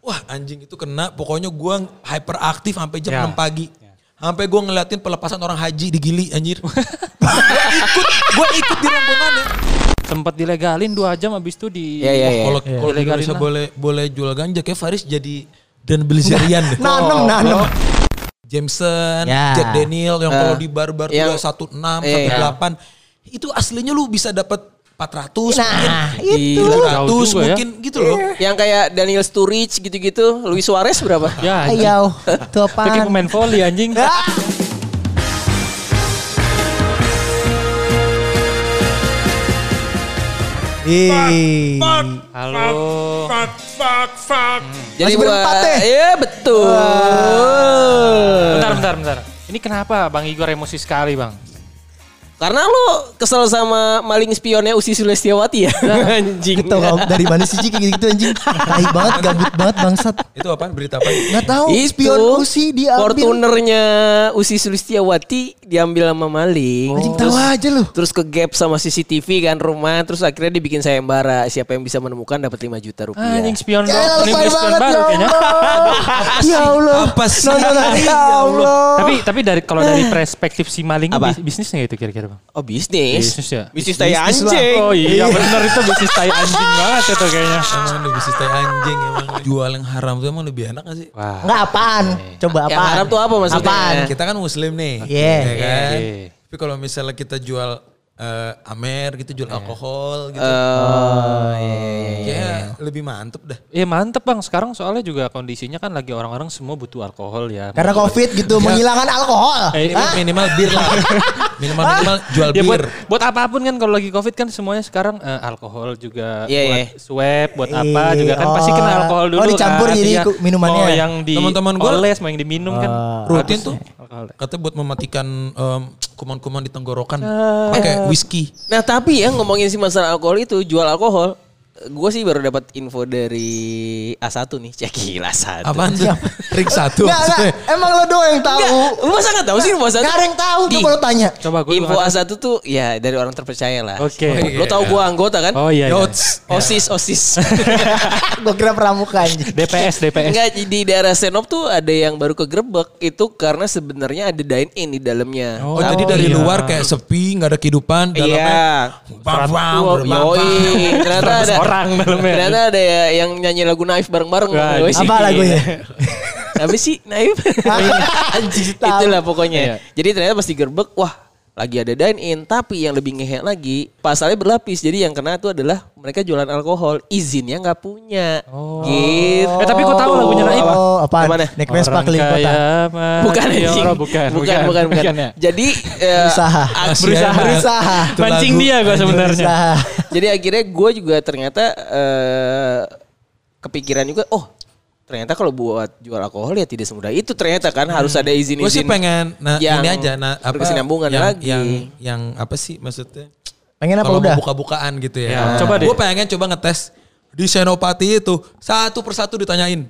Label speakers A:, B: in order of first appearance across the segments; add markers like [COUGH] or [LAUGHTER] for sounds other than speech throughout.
A: wah anjing itu kena pokoknya gue hyperaktif sampai jam
B: Ya.
A: 6 pagi sampai gue ngeliatin pelepasan orang haji di Gili anjir ikut gue ikut di ya. rombongannya
B: Sempat dilegalin dua jam habis itu di
C: Iya, iya, iya.
A: kalau kalau di Indonesia
B: Ilegalin lah.
A: boleh boleh jual ganja kayak Faris jadi dan Belzerian deh.
C: Nanem, nanem.
A: Jameson,
C: Ya.
A: Jack Daniel yang kalau
C: Eh,
A: di bar-bar
C: yang-
A: tuh 16,
C: iya.
A: 18 itu aslinya lu bisa dapat 400
C: Nah,
A: mungkin
C: itu.
A: 700
B: Gila. Jauh juga ya.
A: mungkin gitu loh.
C: Yang kayak Daniel Sturridge gitu-gitu, Luis Suarez berapa?
B: Ya, anjing.
D: Ayo, itu
B: Itu kayak
D: apaan?
B: pemain volley
D: [LAUGHS]
B: anjing.
C: Iya.
D: Ih.
B: Halo.
C: Jadi
D: Masih berempat ya?
C: buat-
D: deh.
C: Iya, betul.
B: Bentar, bentar, bentar. Ini kenapa Bang Igor emosi sekali, Bang?
C: Karena lo kesel sama maling spionnya Usi Sulistiawati ya? [LAUGHS] Anjing.
D: Gitu kamu dari mana sih Ji kayak gitu anjing? Tai banget, gabut banget bangsat.
A: Itu apaan berita apa?
D: Enggak tahu spion Usi diambil.
C: Fortunernya Usi Sulistiawati diambil sama maling.
D: Oh. Anjing tahu aja lu.
C: Terus ke gap sama CCTV kan rumah, terus akhirnya dibikin sayembara. Siapa yang bisa menemukan dapat 5 juta rupiah.
B: Anjing spion baru.
D: Ya
B: Ini
D: lebay
B: beli spion
D: banget
B: baru
D: ya
B: kayaknya.
D: Allah. Ya Allah.
A: Apa sih?
D: No, no, no.
A: Ya
D: Ya Allah.
B: Tapi tapi dari kalau dari perspektif si maling
C: Apa?
B: bisnisnya itu kira-kira, Bang?
C: Oh bisnis.
B: Bisnis ya?
C: Bisnis tai
D: Bisnis lah.
C: anjing.
B: Oh iya benar itu bisnis tai
C: [LAUGHS]
B: anjing banget itu kayaknya.
A: Emang lu bisa stay anjing emang jual yang haram tuh emang lebih enak gak sih?
B: Wah.
D: Enggak apaan? Coba apaan?
C: Yang haram tuh apa maksudnya?
D: Apaan?
A: Kita kan muslim nih.
D: Iya.
A: ya kan?
B: Iya.
A: Tapi kalau misalnya kita jual eh, amer gitu,
B: Iya.
A: jual alkohol
B: Eh,
A: gitu. Kayaknya lebih mantep dah.
B: Iya mantep bang, sekarang soalnya juga kondisinya kan lagi orang-orang semua butuh alkohol ya.
D: Karena Ah. covid gitu menghilangkan alkohol.
B: Eh,
D: Hah?
A: Minimal bir
D: [LAUGHS]
A: lah. minimal
B: [LAUGHS]
A: minimal jual
B: Ya buat,
A: bir.
B: buat apapun kan kalau lagi covid kan semuanya sekarang eh, alkohol juga
C: Iya,
B: buat swab buat apa
D: Iya,
B: juga kan pasti kena
D: oh.
B: alkohol
D: Oh,
B: dulu
D: dicampur
B: kan.
D: jadi
B: Iya.
D: ku- minumannya. ya? Ah.
B: Mau yang di
A: Teman-teman gua-
B: oles, mau yang diminum kan.
A: Rutin tuh.
B: Alkohol.
A: Katanya buat mematikan em, kuman-kuman di tenggorokan.
B: Eh.
A: Pakai whisky.
C: Nah tapi ya ngomongin si masalah alkohol itu jual alkohol, gue sih baru dapat info dari A1 nih, cek gila satu.
A: Apaan tuh? Ring satu.
D: Enggak, enggak. Emang lo doang yang tahu.
C: Lu masa nggak tahu sih info A1?
D: Enggak ada yang tahu tuh
C: Di,
D: kalau tanya.
B: Coba gue.
C: info A1 tuh ya dari orang terpercaya lah.
B: Oke.
C: Lo tau gue anggota kan?
A: Ya,
B: Oh iya. iya.
A: Yots.
C: Osis,
B: [LAUGHS]
C: osis.
D: Gue kira pramuka anjing.
B: DPS, DPS.
C: Enggak di daerah Senop tuh ada yang baru kegerebek itu karena sebenarnya ada dine in di dalamnya.
A: Oh, jadi dari
B: iya.
A: luar kayak sepi, nggak ada kehidupan. Dalamnya.
C: Iya.
A: Wow, wow,
C: Wow, yoi. Ternyata ada
B: 100 orang dalamnya.
C: Ternyata ada ya yang nyanyi lagu Naif bareng-bareng.
B: Wah,
C: Yoi.
D: Apa lagunya?
C: Tapi sih
B: [LAUGHS]
C: Naif.
D: Anjing tahu.
C: Itulah pokoknya.
B: Iya.
C: Jadi ternyata pas digerbek, wah lagi ada dine in tapi yang lebih ngehe lagi pasalnya berlapis jadi yang kena itu adalah mereka jualan alkohol izinnya nggak punya gitu
B: Eh, tapi kok tahu lagunya Naif?
D: Oh, apaan?
C: Gimana?
D: Naik Vespa
B: Orang
D: keliling kota.
B: kaya mati
C: bukan anjing.
B: orang, Iya, bukan,
C: bukan bukan, bukan.
B: ya.
C: jadi eh,
D: Usaha.
C: ak-
A: Berusaha.
D: Berusaha.
A: Itu
B: Mancing
A: lagu.
B: dia gue sebenarnya.
D: Berusaha.
C: jadi akhirnya gue juga ternyata eh, kepikiran juga oh ternyata kalau buat jual alkohol ya tidak semudah itu ternyata kan harus ada izin izin
A: Gue Hmm. sih pengen nah,
C: yang
A: ini aja nah, apa
C: berkesinambungan
A: yang,
C: lagi.
A: yang yang apa sih maksudnya?
D: Pengen apa
A: Kalau
D: udah?
A: mau buka-bukaan gitu ya.
B: Ya, coba deh.
A: Gue pengen coba ngetes di Senopati itu satu persatu ditanyain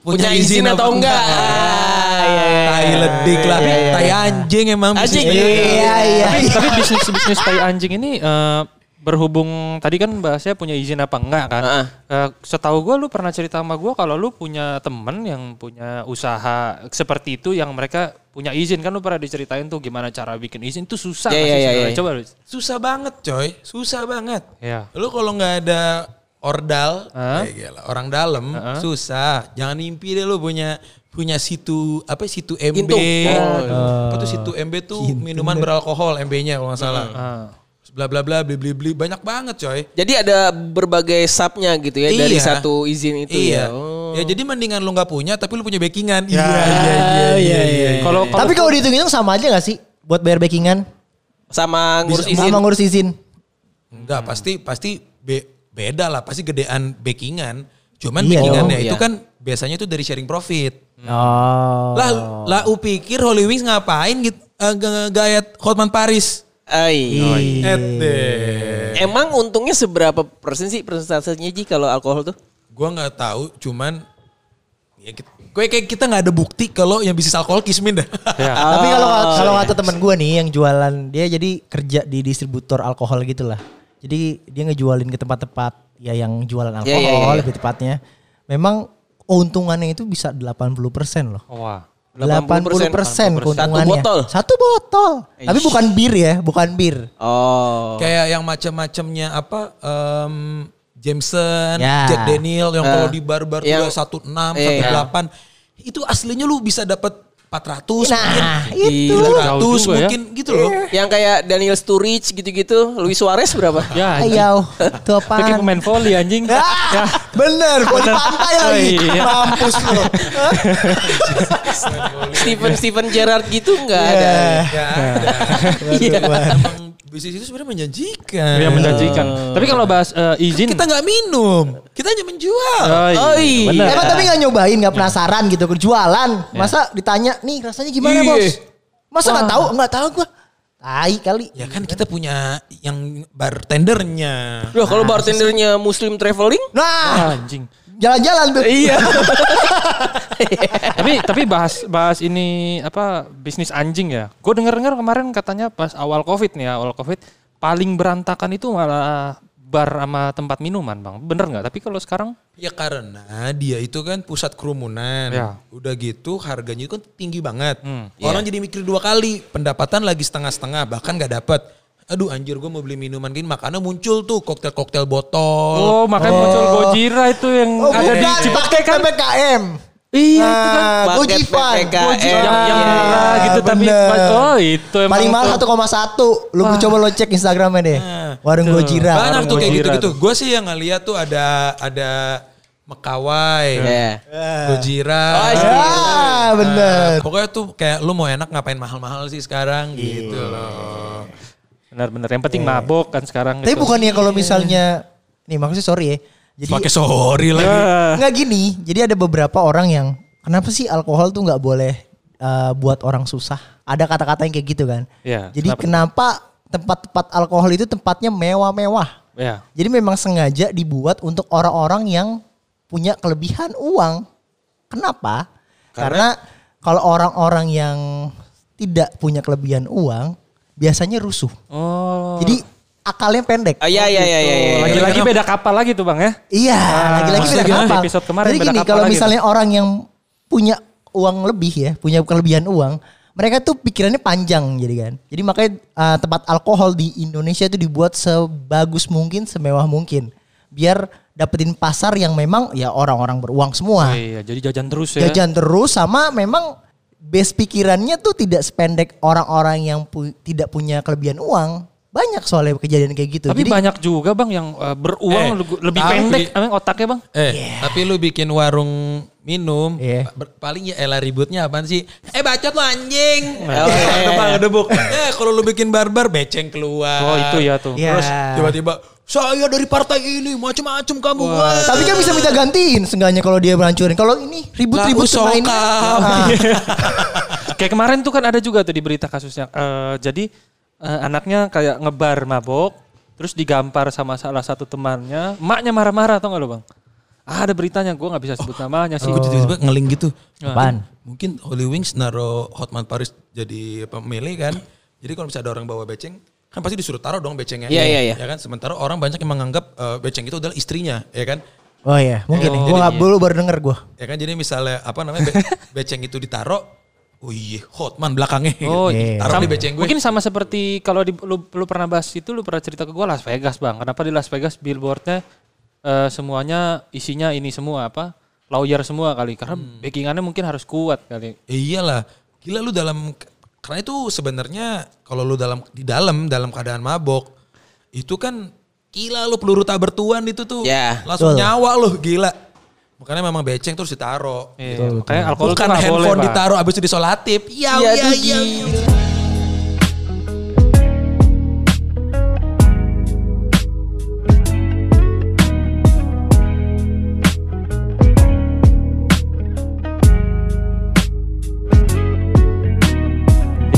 C: punya izin atau enggak, Ah, iya, iya, iya.
A: Tai ledik lah, tai anjing emang
C: Anjing.
A: bisnis.
D: Iya, iya.
B: ya. tapi, tapi bisnis bisnis tai anjing ini eh, berhubung tadi kan bahasnya punya izin apa enggak kan?
C: Heeh.
B: Eh, setahu gue lu pernah cerita sama gue kalau lu punya temen yang punya usaha seperti itu yang mereka punya izin kan lu pernah diceritain tuh gimana cara bikin izin itu susah
C: Iya,
B: nggak sih
C: iya, iya,
B: sebenarnya?
C: iya.
B: coba lu.
A: Susah banget coy, susah banget.
B: Iya.
A: Lu kalau nggak ada ordal,
B: Hah?
A: eh, gila, orang dalam susah. Jangan mimpi deh lu punya punya situ apa ya, situ MB.
C: Gintung.
A: gitu. Apa tuh situ MB tuh minuman beralkohol MB-nya kalau nggak salah.
B: Ah.
A: Bla bla bla beli beli beli banyak banget coy.
C: jadi ada berbagai subnya gitu ya dari
A: Iya.
C: satu izin itu
A: iya.
C: ya Oh.
A: Ya
C: Ya.
A: jadi mendingan lu nggak punya tapi lu punya backingan. Iya
D: iya, iya.
B: Kalau
D: Tapi kalau dihitung-hitung sama aja gak sih? Buat bayar backingan?
C: sama ngurus izin
D: Sama ngurus izin.
A: Enggak, pasti pasti be- beda lah, pasti gedean backingan. Cuman
D: Iya
A: backingannya
C: dong.
A: itu
C: Iya.
A: kan biasanya itu dari sharing profit.
D: Oh.
A: Lah lah u pikir Holy Wings ngapain gitu eh, nge- gayat Hotman Paris.
C: Ay.
A: Oh, Et deh.
C: Ah, iya. Emang untungnya seberapa persen sih persentasenya Ji kalau alkohol tuh?
A: Gua nggak tahu, cuman ya kita, gue kayak kita nggak ada bukti kalau yang bisnis alkohol kismin dah.
D: Tapi kalau kalau kata temen gue nih yang jualan dia jadi kerja di distributor alkohol gitu lah. Jadi dia ngejualin ke tempat-tempat ya yang jualan alkohol
C: Iya, iya, iya.
D: lebih tepatnya. Memang keuntungannya itu bisa 80% loh.
B: Wah.
D: 80%,
C: 80%.
D: keuntungannya.
C: Satu botol.
D: Satu botol. Tapi
C: Eish.
D: bukan bir ya, bukan bir.
C: Oh.
A: Kayak yang macam-macamnya apa em, Jameson,
D: Ya.
A: Jack Daniel yang kalau di bar-bar
C: Yang-
A: juga 16,
C: Iya.
A: 18 itu aslinya lu bisa dapat 400
D: Nah,
A: mungkin
D: itu.
B: Gila. Jauh
A: 700
B: juga ya.
A: mungkin gitu loh.
C: Yang kayak Daniel Sturridge gitu-gitu, Luis Suarez berapa?
A: [LAUGHS]
B: Ya. anjing.
D: Ayo, itu Iya, apaan? Ah.
B: Pakai pemain volley anjing. ya.
D: Bener, voli
B: Bener.
D: pantai
B: Oh,
D: lagi.
B: iya.
D: Mampus lu.
C: Steven Steven Gerrard gitu enggak ada.
A: Ya, ada.
D: Iya.
A: Emang bisnis itu sebenarnya menjanjikan.
B: Yang Ya, menjanjikan.
D: Iya.
B: Tapi kalau bahas eh, izin. eh,
A: Kita nggak minum, kita hanya menjual.
B: Ya.
C: Oh, iya.
B: bener.
D: Emang tapi gak nyobain, gak penasaran gitu kejualan. Masa ditanya, nih rasanya gimana
A: Iya.
D: bos? Masa nggak tahu? Nggak tahu gua. Tai kali.
A: Ya kan kita punya yang bartendernya.
C: Loh, kalau bartendernya Muslim traveling?
B: Ah,
D: Nah,
B: Anjing.
D: jalan-jalan tuh.
C: Iya.
B: tapi tapi bahas bahas ini apa bisnis anjing ya. Gue denger dengar kemarin katanya pas awal covid nih ya, awal covid paling berantakan itu malah bar sama tempat minuman bang. Bener nggak? Tapi kalau sekarang
A: Ya karena dia itu kan pusat kerumunan.
B: Ya.
A: Udah gitu harganya itu kan tinggi banget. Orang jadi mikir dua kali, pendapatan lagi setengah-setengah bahkan nggak dapat. Aduh anjir gue mau beli minuman gini makanya muncul tuh koktel-koktel botol.
B: oh makanya muncul Gojira itu yang
D: Oh,
B: ada di
D: bukan,
B: Cipete
D: pakai
B: kan?
D: PPKM.
B: Iya itu kan.
D: Nah,
C: Paket
D: Gojifan.
C: PPKM.
D: Gojifan.
B: Yang, yang
D: Iya,
B: murah gitu tapi
D: bener.
B: oh itu emang
D: Paling mahal
B: tuh.
D: 1,1. Lu coba lo cek Instagramnya deh. Warung Gojira.
A: Banyak tuh kayak
B: Gojira
A: gitu-gitu. Gue sih yang ngeliat tuh ada ada Mekawai,
C: Iya.
A: Gojira.
C: Oh, iya.
D: Ah, bener.
A: Nah, pokoknya tuh kayak lu mau enak ngapain mahal-mahal sih sekarang
D: Iya.
A: gitu loh.
B: Benar-benar yang penting mabok kan sekarang.
D: Tapi
B: gitu.
D: bukannya kalau misalnya nih maksudnya sorry ya. Jadi Ya.
A: Pakai sorry
B: Iya.
A: lagi.
D: nggak gini. Jadi ada beberapa orang yang kenapa sih alkohol tuh nggak boleh eh, buat orang susah? Ada kata-kata yang kayak gitu kan.
B: Iya,
D: Jadi kenapa tempat-tempat alkohol itu tempatnya mewah-mewah?
B: Ya.
D: Jadi memang sengaja dibuat untuk orang-orang yang punya kelebihan uang. Kenapa? Karena, kalau orang-orang yang tidak punya kelebihan uang biasanya rusuh.
B: Oh.
D: Jadi akalnya pendek.
C: Ah, iya iya iya iya. iya.
B: Lagi-lagi beda kapal lagi tuh bang ya.
D: Iya, lagi-lagi
B: maksudnya
D: beda
B: gimana?
D: kapal.
B: Episode kemarin
D: Jadi
B: beda
D: gini,
B: kapal
D: kalau
B: lagi
D: misalnya orang yang punya uang lebih ya, punya kelebihan uang, mereka tuh pikirannya panjang jadi kan. Jadi makanya uh, tempat alkohol di Indonesia itu dibuat sebagus mungkin, semewah mungkin. Biar dapetin pasar yang memang ya orang-orang beruang semua.
B: Iya, jadi jajan terus ya.
D: Jajan terus sama memang base pikirannya tuh tidak sependek orang-orang yang pu- tidak punya kelebihan uang. Banyak soalnya kejadian kayak gitu.
B: Tapi
D: Jadi-
B: banyak juga bang yang eh, beruang
A: Eh,
B: lu- lebih
A: tapi-
B: pendek, emang otaknya bang.
A: Eh, tapi lu bikin warung minum,
D: Iya.
A: ba- paling ya elah ributnya apaan sih? Eh bacot lu
D: [LAUGHS]
A: anjing.
C: Oh, iya.
A: Tebak debuk. Eh kalau lu bikin barbar beceng keluar.
B: Oh itu ya tuh.
D: Iya.
A: Terus tiba-tiba saya dari partai ini macem-macem kamu. Wah.
D: Tapi kan bisa minta gantiin seenggaknya kalau dia berhancurin. Kalau ini ribut-ribut
A: Lah,
D: mainnya.
A: usokap.
D: Ah.
A: [LAUGHS]
B: Kayak kemarin tuh kan ada juga tuh di berita kasusnya. Eh, jadi eh, anaknya kayak ngebar mabok, terus digampar sama salah satu temannya. Emaknya marah-marah tau gak lu bang? Ah, ada beritanya, gue nggak bisa sebut namanya sih.
A: Gue tiba-tiba ngeling gitu.
D: Apaan?
A: Mungkin Holy Wings naro Hotman Paris jadi pemilih kan. Jadi kalau misalnya ada orang bawa beceng, kan pasti disuruh taruh dong becengnya.
C: Iya, iya, iya.
A: Ya kan sementara orang banyak yang menganggap eh, beceng itu adalah istrinya, ya kan?
D: Oh iya, mungkin ya. Gua nggak dulu baru denger gua.
A: Ya kan jadi misalnya apa namanya be- [LAUGHS] beceng itu ditaruh, oh iya Hotman belakangnya.
B: Oh,
D: Iya.
A: [LAUGHS] taruh
B: Sam-
A: di beceng gue.
B: Mungkin sama seperti kalau di, lu, lu pernah bahas itu, lu pernah cerita ke gue Las Vegas bang. Kenapa di Las Vegas billboardnya eh, semuanya isinya ini semua apa? Lawyer semua kali. Karena backingannya mungkin harus kuat kali.
A: Iyalah, gila lu dalam karena itu sebenarnya kalau lu dalam di dalam dalam keadaan mabok itu kan gila lu peluru tak bertuan itu tuh.
C: Ya.
A: Langsung
D: Betul.
A: nyawa lu gila. Makanya memang beceng terus ditaro.
B: Iya, makanya alkohol
A: Bukan
B: tuh nggak boleh
A: handphone
B: bang.
A: ditaruh abis itu disolatif. Iya,
C: Iya,
A: iya,
C: tuh,
A: iya.
C: Ji.
A: iya.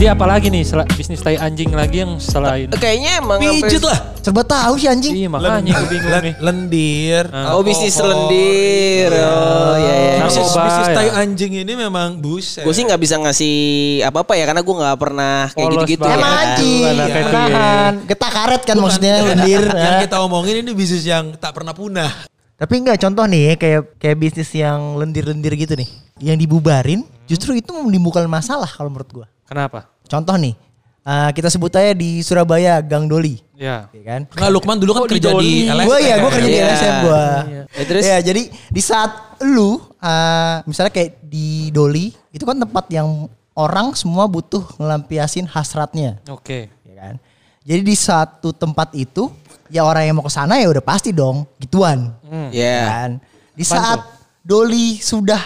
B: Jadi apalagi nih sel- bisnis tai anjing lagi yang selain.
C: Kayaknya emang ya?
A: Pijet lah.
D: Serba tahu sih anjing.
B: Iya makanya gue bingung
A: Len-
B: nih. Ah.
A: lendir.
C: Oh, bisnis lendir. Oh, iya iya.
B: Nah,
A: Bisnis,
B: Narkoba,
A: bisnis
B: ya.
A: tai anjing ini memang buset.
C: Gue sih nggak bisa ngasih apa-apa ya karena gue nggak pernah kayak
B: Polos
C: gitu-gitu.
B: banget.
D: Emang
C: ya.
D: anjing,
B: Iya.
D: menahan. Getah karet kan maksudnya
A: Bukan.
B: [LAUGHS]
D: [LAUGHS] lendir.
A: yang
D: Ah.
A: kita omongin ini bisnis yang tak pernah punah.
D: Tapi enggak contoh nih kayak kayak bisnis yang lendir-lendir gitu nih. Yang dibubarin justru itu menimbulkan masalah kalau menurut gua.
B: Kenapa?
D: Contoh nih eh, kita sebut aja di Surabaya Gang Doli,
B: Ya.
D: ya kan?
A: Nah, Lukman dulu kan kerja di LSM.
D: Gue ya, gue kerja di
C: Iya.
D: LSM gue.
C: Iya.
D: Iya.
C: Ya, terus?
D: jadi di saat lu, eh, misalnya kayak di Doli, itu kan tempat yang orang semua butuh ngelampiasin hasratnya,
B: Oke.
D: ya kan? Jadi di satu tempat itu, ya orang yang mau ke sana ya udah pasti dong, gituan.
C: Ya.
D: Kan? Di saat Doli sudah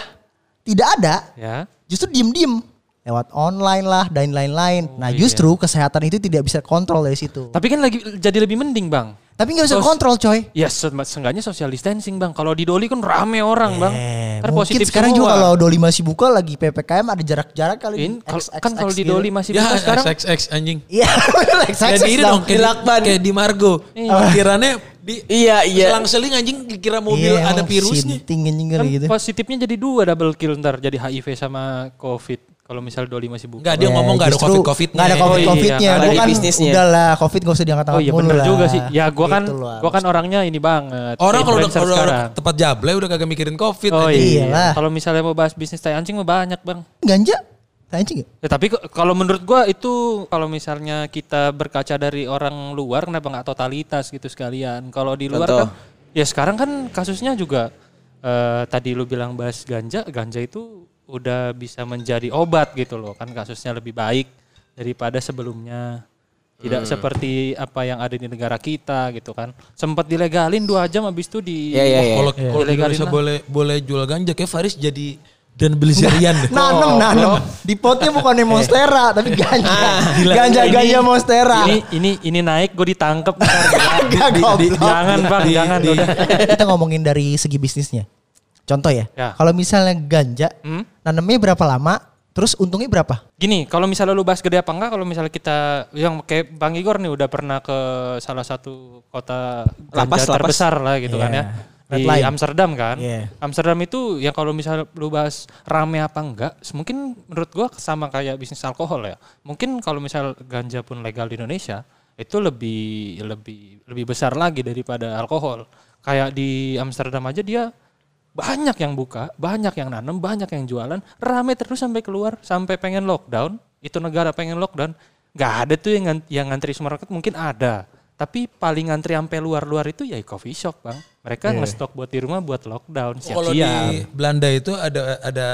D: tidak ada,
B: Ya.
D: justru diem-diem lewat online lah dan lain-lain.
C: Oh,
D: nah
C: iya.
D: justru kesehatan itu tidak bisa kontrol dari situ.
B: Tapi kan lagi jadi lebih mending bang.
D: Tapi nggak bisa
B: Terus-
D: kontrol coy.
B: Ya se- seenggaknya social distancing bang. Kalau di Doli kan rame orang bang.
D: Eh,
B: Ntar
D: mungkin
B: positif
D: sekarang
B: semua.
D: juga kalau Doli masih buka lagi PPKM ada jarak-jarak kali.
B: In-
D: X,
B: kalau-
D: X,
B: kan
D: X
B: kalau di
D: gitu.
B: Doli masih
A: Ya,
B: buka sekarang.
A: XXX anjing.
D: Iya, [LAUGHS] bener, X, X,
A: Kayak
D: X
A: diri
D: dong.
A: dong, kayak di, kayak di Margo. Pikirannya di
C: Iya, iya.
A: selang-seling anjing dikira mobil
D: Iya,
A: ada
D: emang
A: virusnya.
D: sinting anjing kali
B: Kan
D: gitu.
B: positifnya jadi dua double kill ntar. Jadi HIV sama COVID. Kalau misal Doli masih buka.
A: Enggak, dia ngomong enggak ada covid-covid.
D: Enggak Eh, ada
B: Oh, iya,
D: covid-covidnya. Gua
C: nggak ada
D: kan
C: bisnisnya.
D: udah lah, covid gak usah diangkat
B: Oh iya bener juga sih. Ya gua
D: Gitu
B: kan gua
D: gua
B: kan orangnya ini banget.
A: Orang kalau udah
B: influencer
A: kalau udah
B: sekarang.
A: tempat jable udah kagak mikirin covid.
B: Oh
A: anjing.
B: iya.
D: Iyalah.
B: Kalau misalnya mau bahas bisnis tai anjing mah banyak, Bang.
D: ganja. Tanya anjing nggak?
B: Ya, tapi ke- kalau menurut gua itu kalau misalnya kita berkaca dari orang luar kenapa nggak totalitas gitu sekalian. Kalau di luar
C: Contoh.
B: kan ya sekarang kan kasusnya juga eh, tadi lu bilang bahas ganja, ganja itu udah bisa menjadi obat gitu loh. Kan kasusnya lebih baik daripada sebelumnya. Tidak seperti apa yang ada di negara kita gitu kan. Sempat dilegalin dua jam habis itu di
C: Ya, ya, ya.
A: Kalau kalau di
B: Iya. Ilegalin
A: Indonesia
B: lah.
A: boleh boleh jual ganja kayak Faris jadi dan beli serian deh.
D: Nanem, nanem. Di potnya bukan monstera,
B: [LAUGHS]
D: tapi ganja. Ganja-ganja
B: Ah,
D: monstera.
B: Ini ini ini naik gue ditangkep ntar.
D: [LAUGHS] Gak goblok.
B: jangan bang, jangan udah.
D: Iya. Kita ngomongin dari segi bisnisnya. Contoh ya,
B: Ya.
D: kalau misalnya ganja,
B: Hmm?
D: nanamnya berapa lama, terus untungnya berapa?
B: Gini, kalau misalnya lu bahas gede apa enggak, kalau misalnya kita yang kayak Bang Igor nih udah pernah ke salah satu kota ganja
C: Lapas, lapas.
B: terbesar lah gitu kan ya.
D: Iya. Red
B: Di
D: Line.
B: Amsterdam kan.
D: Iya.
B: Amsterdam itu ya kalau misalnya lu bahas rame apa enggak, mungkin menurut gua sama kayak bisnis alkohol ya. Mungkin kalau misal ganja pun legal di Indonesia, itu lebih lebih lebih besar lagi daripada alkohol. Kayak di Amsterdam aja dia banyak yang buka, banyak yang nanam, banyak yang jualan, rame terus sampai keluar, sampai pengen lockdown. Itu negara pengen lockdown, nggak ada tuh yang ngan- yang ngantri supermarket mungkin ada. Tapi paling ngantri sampai luar-luar itu ya coffee shop, Bang. Mereka ngestok buat di rumah buat lockdown
A: Kalau di
B: siap-siap.
A: Belanda itu ada ada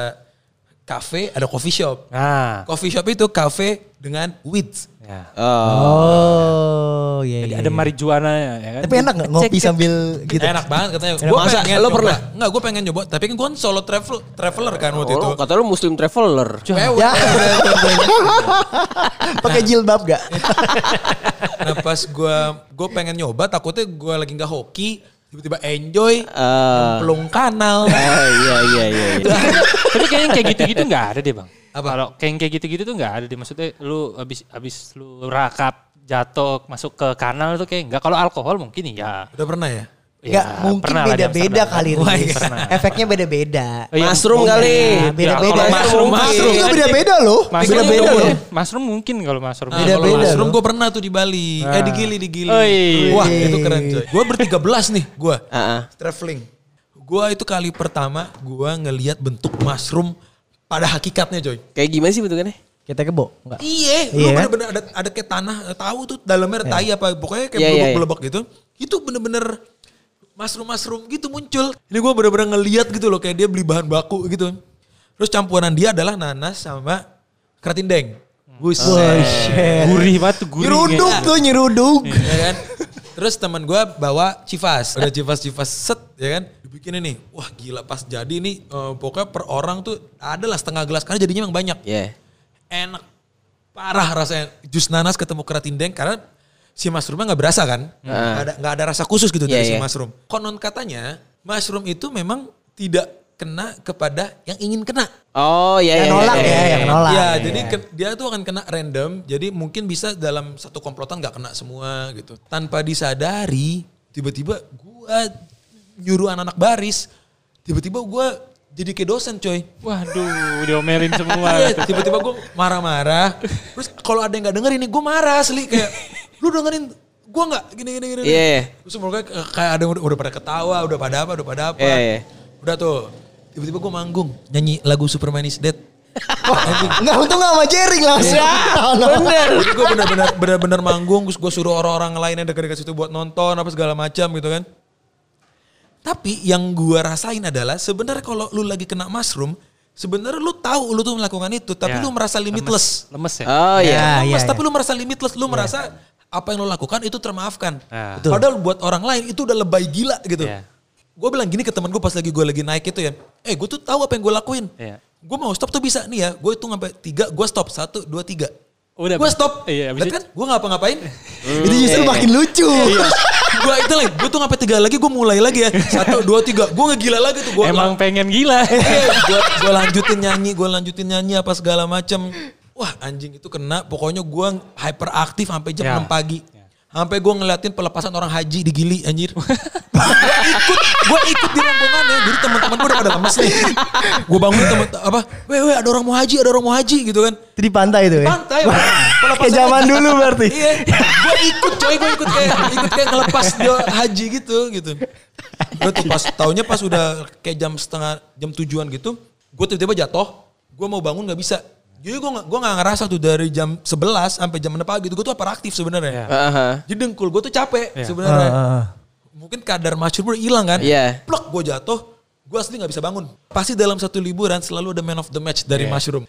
A: kafe, ada coffee shop.
B: Nah,
A: Coffee shop itu kafe dengan weeds.
B: ya.
C: Oh.
D: Oh, iya.
B: Jadi
D: iya,
B: ada
D: iya.
B: marijuana ya kan.
D: Tapi enak gak ngopi sambil gitu?
A: Enak banget katanya.
D: Enak
A: Gua
C: banget.
A: pengen
C: Lo
A: coba.
C: pernah?
A: Enggak, gue pengen nyoba. Tapi kan gue solo travel, traveler kan waktu itu.
C: Oh, kata lu muslim traveler.
A: Mewah.
D: Ya. Pakai jilbab gak?
B: Iya.
D: [LAUGHS]
A: Nah pas gue gue pengen nyoba takutnya gue lagi nggak hoki tiba-tiba enjoy
C: Eh,
A: pelung kanal.
C: ah, iya iya iya. iya.
B: Tapi kayaknya yang kayak gitu-gitu nggak ada deh bang.
A: Apa?
B: Kalau kayak yang kayak gitu-gitu tuh nggak ada deh. Maksudnya lu abis abis lu rakap jatuh masuk ke kanal tuh kayak nggak. Kalau alkohol mungkin iya.
A: Udah pernah ya?
D: Gak mungkin
B: pernah lah di
D: beda-beda
B: Amsterdam.
D: kali
B: Wah,
D: ini.
B: iya, pernah.
D: Efeknya beda-beda. Nah,
B: Oh, iya,
C: Mushroom
B: mungkin.
C: kali.
B: Ya,
D: Beda-beda.
B: kalau
A: mushroom,
D: Mushroom
A: mushroom.
D: tuh beda-beda loh.
B: Mushroom
A: Beda-beda
B: mungkin.
A: loh.
B: Mushroom mungkin kalau mushroom.
A: Nah,
D: Beda-beda
A: kalau mushroom
D: loh.
A: gue pernah tuh di Bali. Eh di Gili, di Gili.
B: Oh, iya.
A: Wah itu keren coy. Gue bertiga belas nih gue.
C: Ah, ah.
A: Traveling. Gue itu kali pertama gue ngelihat bentuk mushroom pada hakikatnya coy.
C: Kayak gimana sih bentukannya?
D: Kita kebo? Enggak.
A: Iya,
D: Iya
A: lu
D: kan?
A: bener-bener ada, ada kayak tanah, eh, tahu tuh dalamnya ada tai apa, pokoknya kayak
C: Iya, iya, iya.
A: belebek-belebek gitu. Itu bener-bener mushroom-mushroom gitu muncul. Ini gua bener-bener ngeliat gitu loh, kayak dia beli bahan baku gitu. Terus campuran dia adalah nanas sama keratin deng. Buset.
B: Gurih banget tuh gurih.
D: Nyeruduk tuh nyeruduk.
B: Iya.
A: ya kan? Terus teman gua bawa civas, udah civas-civas set, ya kan? Dibikin ini, wah gila pas jadi nih, eh, pokoknya per orang tuh adalah setengah gelas, karena jadinya emang banyak
C: Ya.
A: enak parah rasanya jus nanas ketemu keratin deng karena si mushroomnya nggak berasa kan nggak ada nggak ada rasa khusus gitu dari
C: Hmm.
A: si
C: Iya, iya.
A: mushroom konon katanya mushroom itu memang tidak kena kepada yang ingin kena
C: Oh iya
D: Yang
C: iya.
D: nolak
C: iya,
D: ya,
C: iya.
D: yang nolak.
A: ya jadi ke- dia tuh akan kena random jadi mungkin bisa dalam satu komplotan nggak kena semua gitu tanpa disadari tiba-tiba gua nyuruh anak-anak baris tiba-tiba gua jadi kayak dosen coy
B: Waduh, diomelin
D: [LAUGHS]
B: semua.
A: Iya, tiba-tiba gue marah-marah. Terus kalau ada yang nggak dengerin nih, gue marah asli kayak lu dengerin Gua nggak gini gini gini.
C: Iya, iya.
A: Terus mereka k- kayak ada yang udah, udah pada ketawa, udah pada apa, udah pada apa.
C: Iya, iya.
A: Udah tuh. Tiba-tiba gue manggung nyanyi lagu Superman is Dead.
D: Enggak untung gak sama Jering
B: Iya.
D: langsung. Oh, no.
A: Jadi gue bener-bener bener-bener manggung, terus gue suruh orang-orang lain yang dekat-dekat situ buat nonton apa segala macam gitu kan. Tapi yang gue rasain adalah sebenarnya kalau lu lagi kena mushroom, sebenarnya lu tahu lu tuh melakukan itu, tapi
B: Ya,
C: Iya.
A: lu merasa limitless.
B: Lemes ya?
C: Oh iya.
D: Ya,
A: Lemes,
D: ya,
A: tapi lu merasa limitless, lu merasa apa yang lu lakukan itu termaafkan.
B: Ya.
A: Betul. Padahal buat orang lain itu udah lebay gila gitu.
B: Ya.
A: Gue bilang gini ke temen gue pas lagi gue lagi naik itu ya, eh gue tuh tahu apa yang gue lakuin.
B: Iya.
A: Gue mau stop tuh bisa nih ya, gue hitung sampai tiga, gue stop satu dua tiga.
B: Udah,
A: gue
B: abis-
A: stop.
B: iya, abis
A: Lihat
B: itu- Hmm.
A: kan,
B: Iya,
A: gue ngapa-ngapain.
D: Itu justru makin lucu.
A: gue itu lagi, gue tuh sampai tiga lagi, gue mulai lagi ya. Satu dua tiga, gue ngegila lagi tuh. Gua
B: Emang pengen gila.
D: [LAUGHS]
A: gue lanjutin nyanyi, gue lanjutin nyanyi apa segala macem. Wah anjing itu kena, pokoknya gue hyperaktif sampai jam
B: Ya.
A: 6 pagi. Sampai gue ngeliatin pelepasan orang haji di Gili anjir. gue ikut, gue ikut di rombongannya. Jadi teman-teman gue udah pada lemes nih. Gue bangun temen, apa, weh weh ada orang mau haji, ada orang mau haji gitu kan.
D: Itu di pantai tuh ya.
A: Pantai.
D: [LAUGHS] Kayak zaman dulu berarti.
A: Iya, gue ikut coy, gue ikut kayak ikut kayak ngelepas dia haji gitu gitu. Gue tuh pas taunya pas udah kayak jam setengah jam tujuan gitu, gue tiba-tiba jatuh, gue mau bangun nggak bisa. Jadi gue gak, gua nggak ngerasa tuh dari jam 11 sampai jam 6 pagi itu gue tuh hyperaktif sebenarnya.
C: Aha.
A: Jadi dengkul gue tuh capek
D: Ah,
A: sebenarnya.
D: ah, ah.
A: Mungkin kadar macur udah hilang kan.
C: Iya.
A: Plok gue jatuh, gue asli nggak bisa bangun. Pasti dalam satu liburan selalu ada man of the match dari mushroom.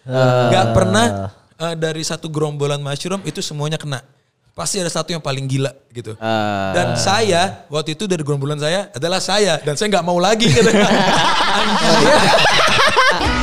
A: Gak pernah eh, dari satu gerombolan mushroom itu semuanya kena. Pasti ada satu yang paling gila gitu.
C: Ah.
A: Dan saya waktu itu gitu. dari gerombolan saya adalah saya dan saya nggak mau lagi. kata. Anjir.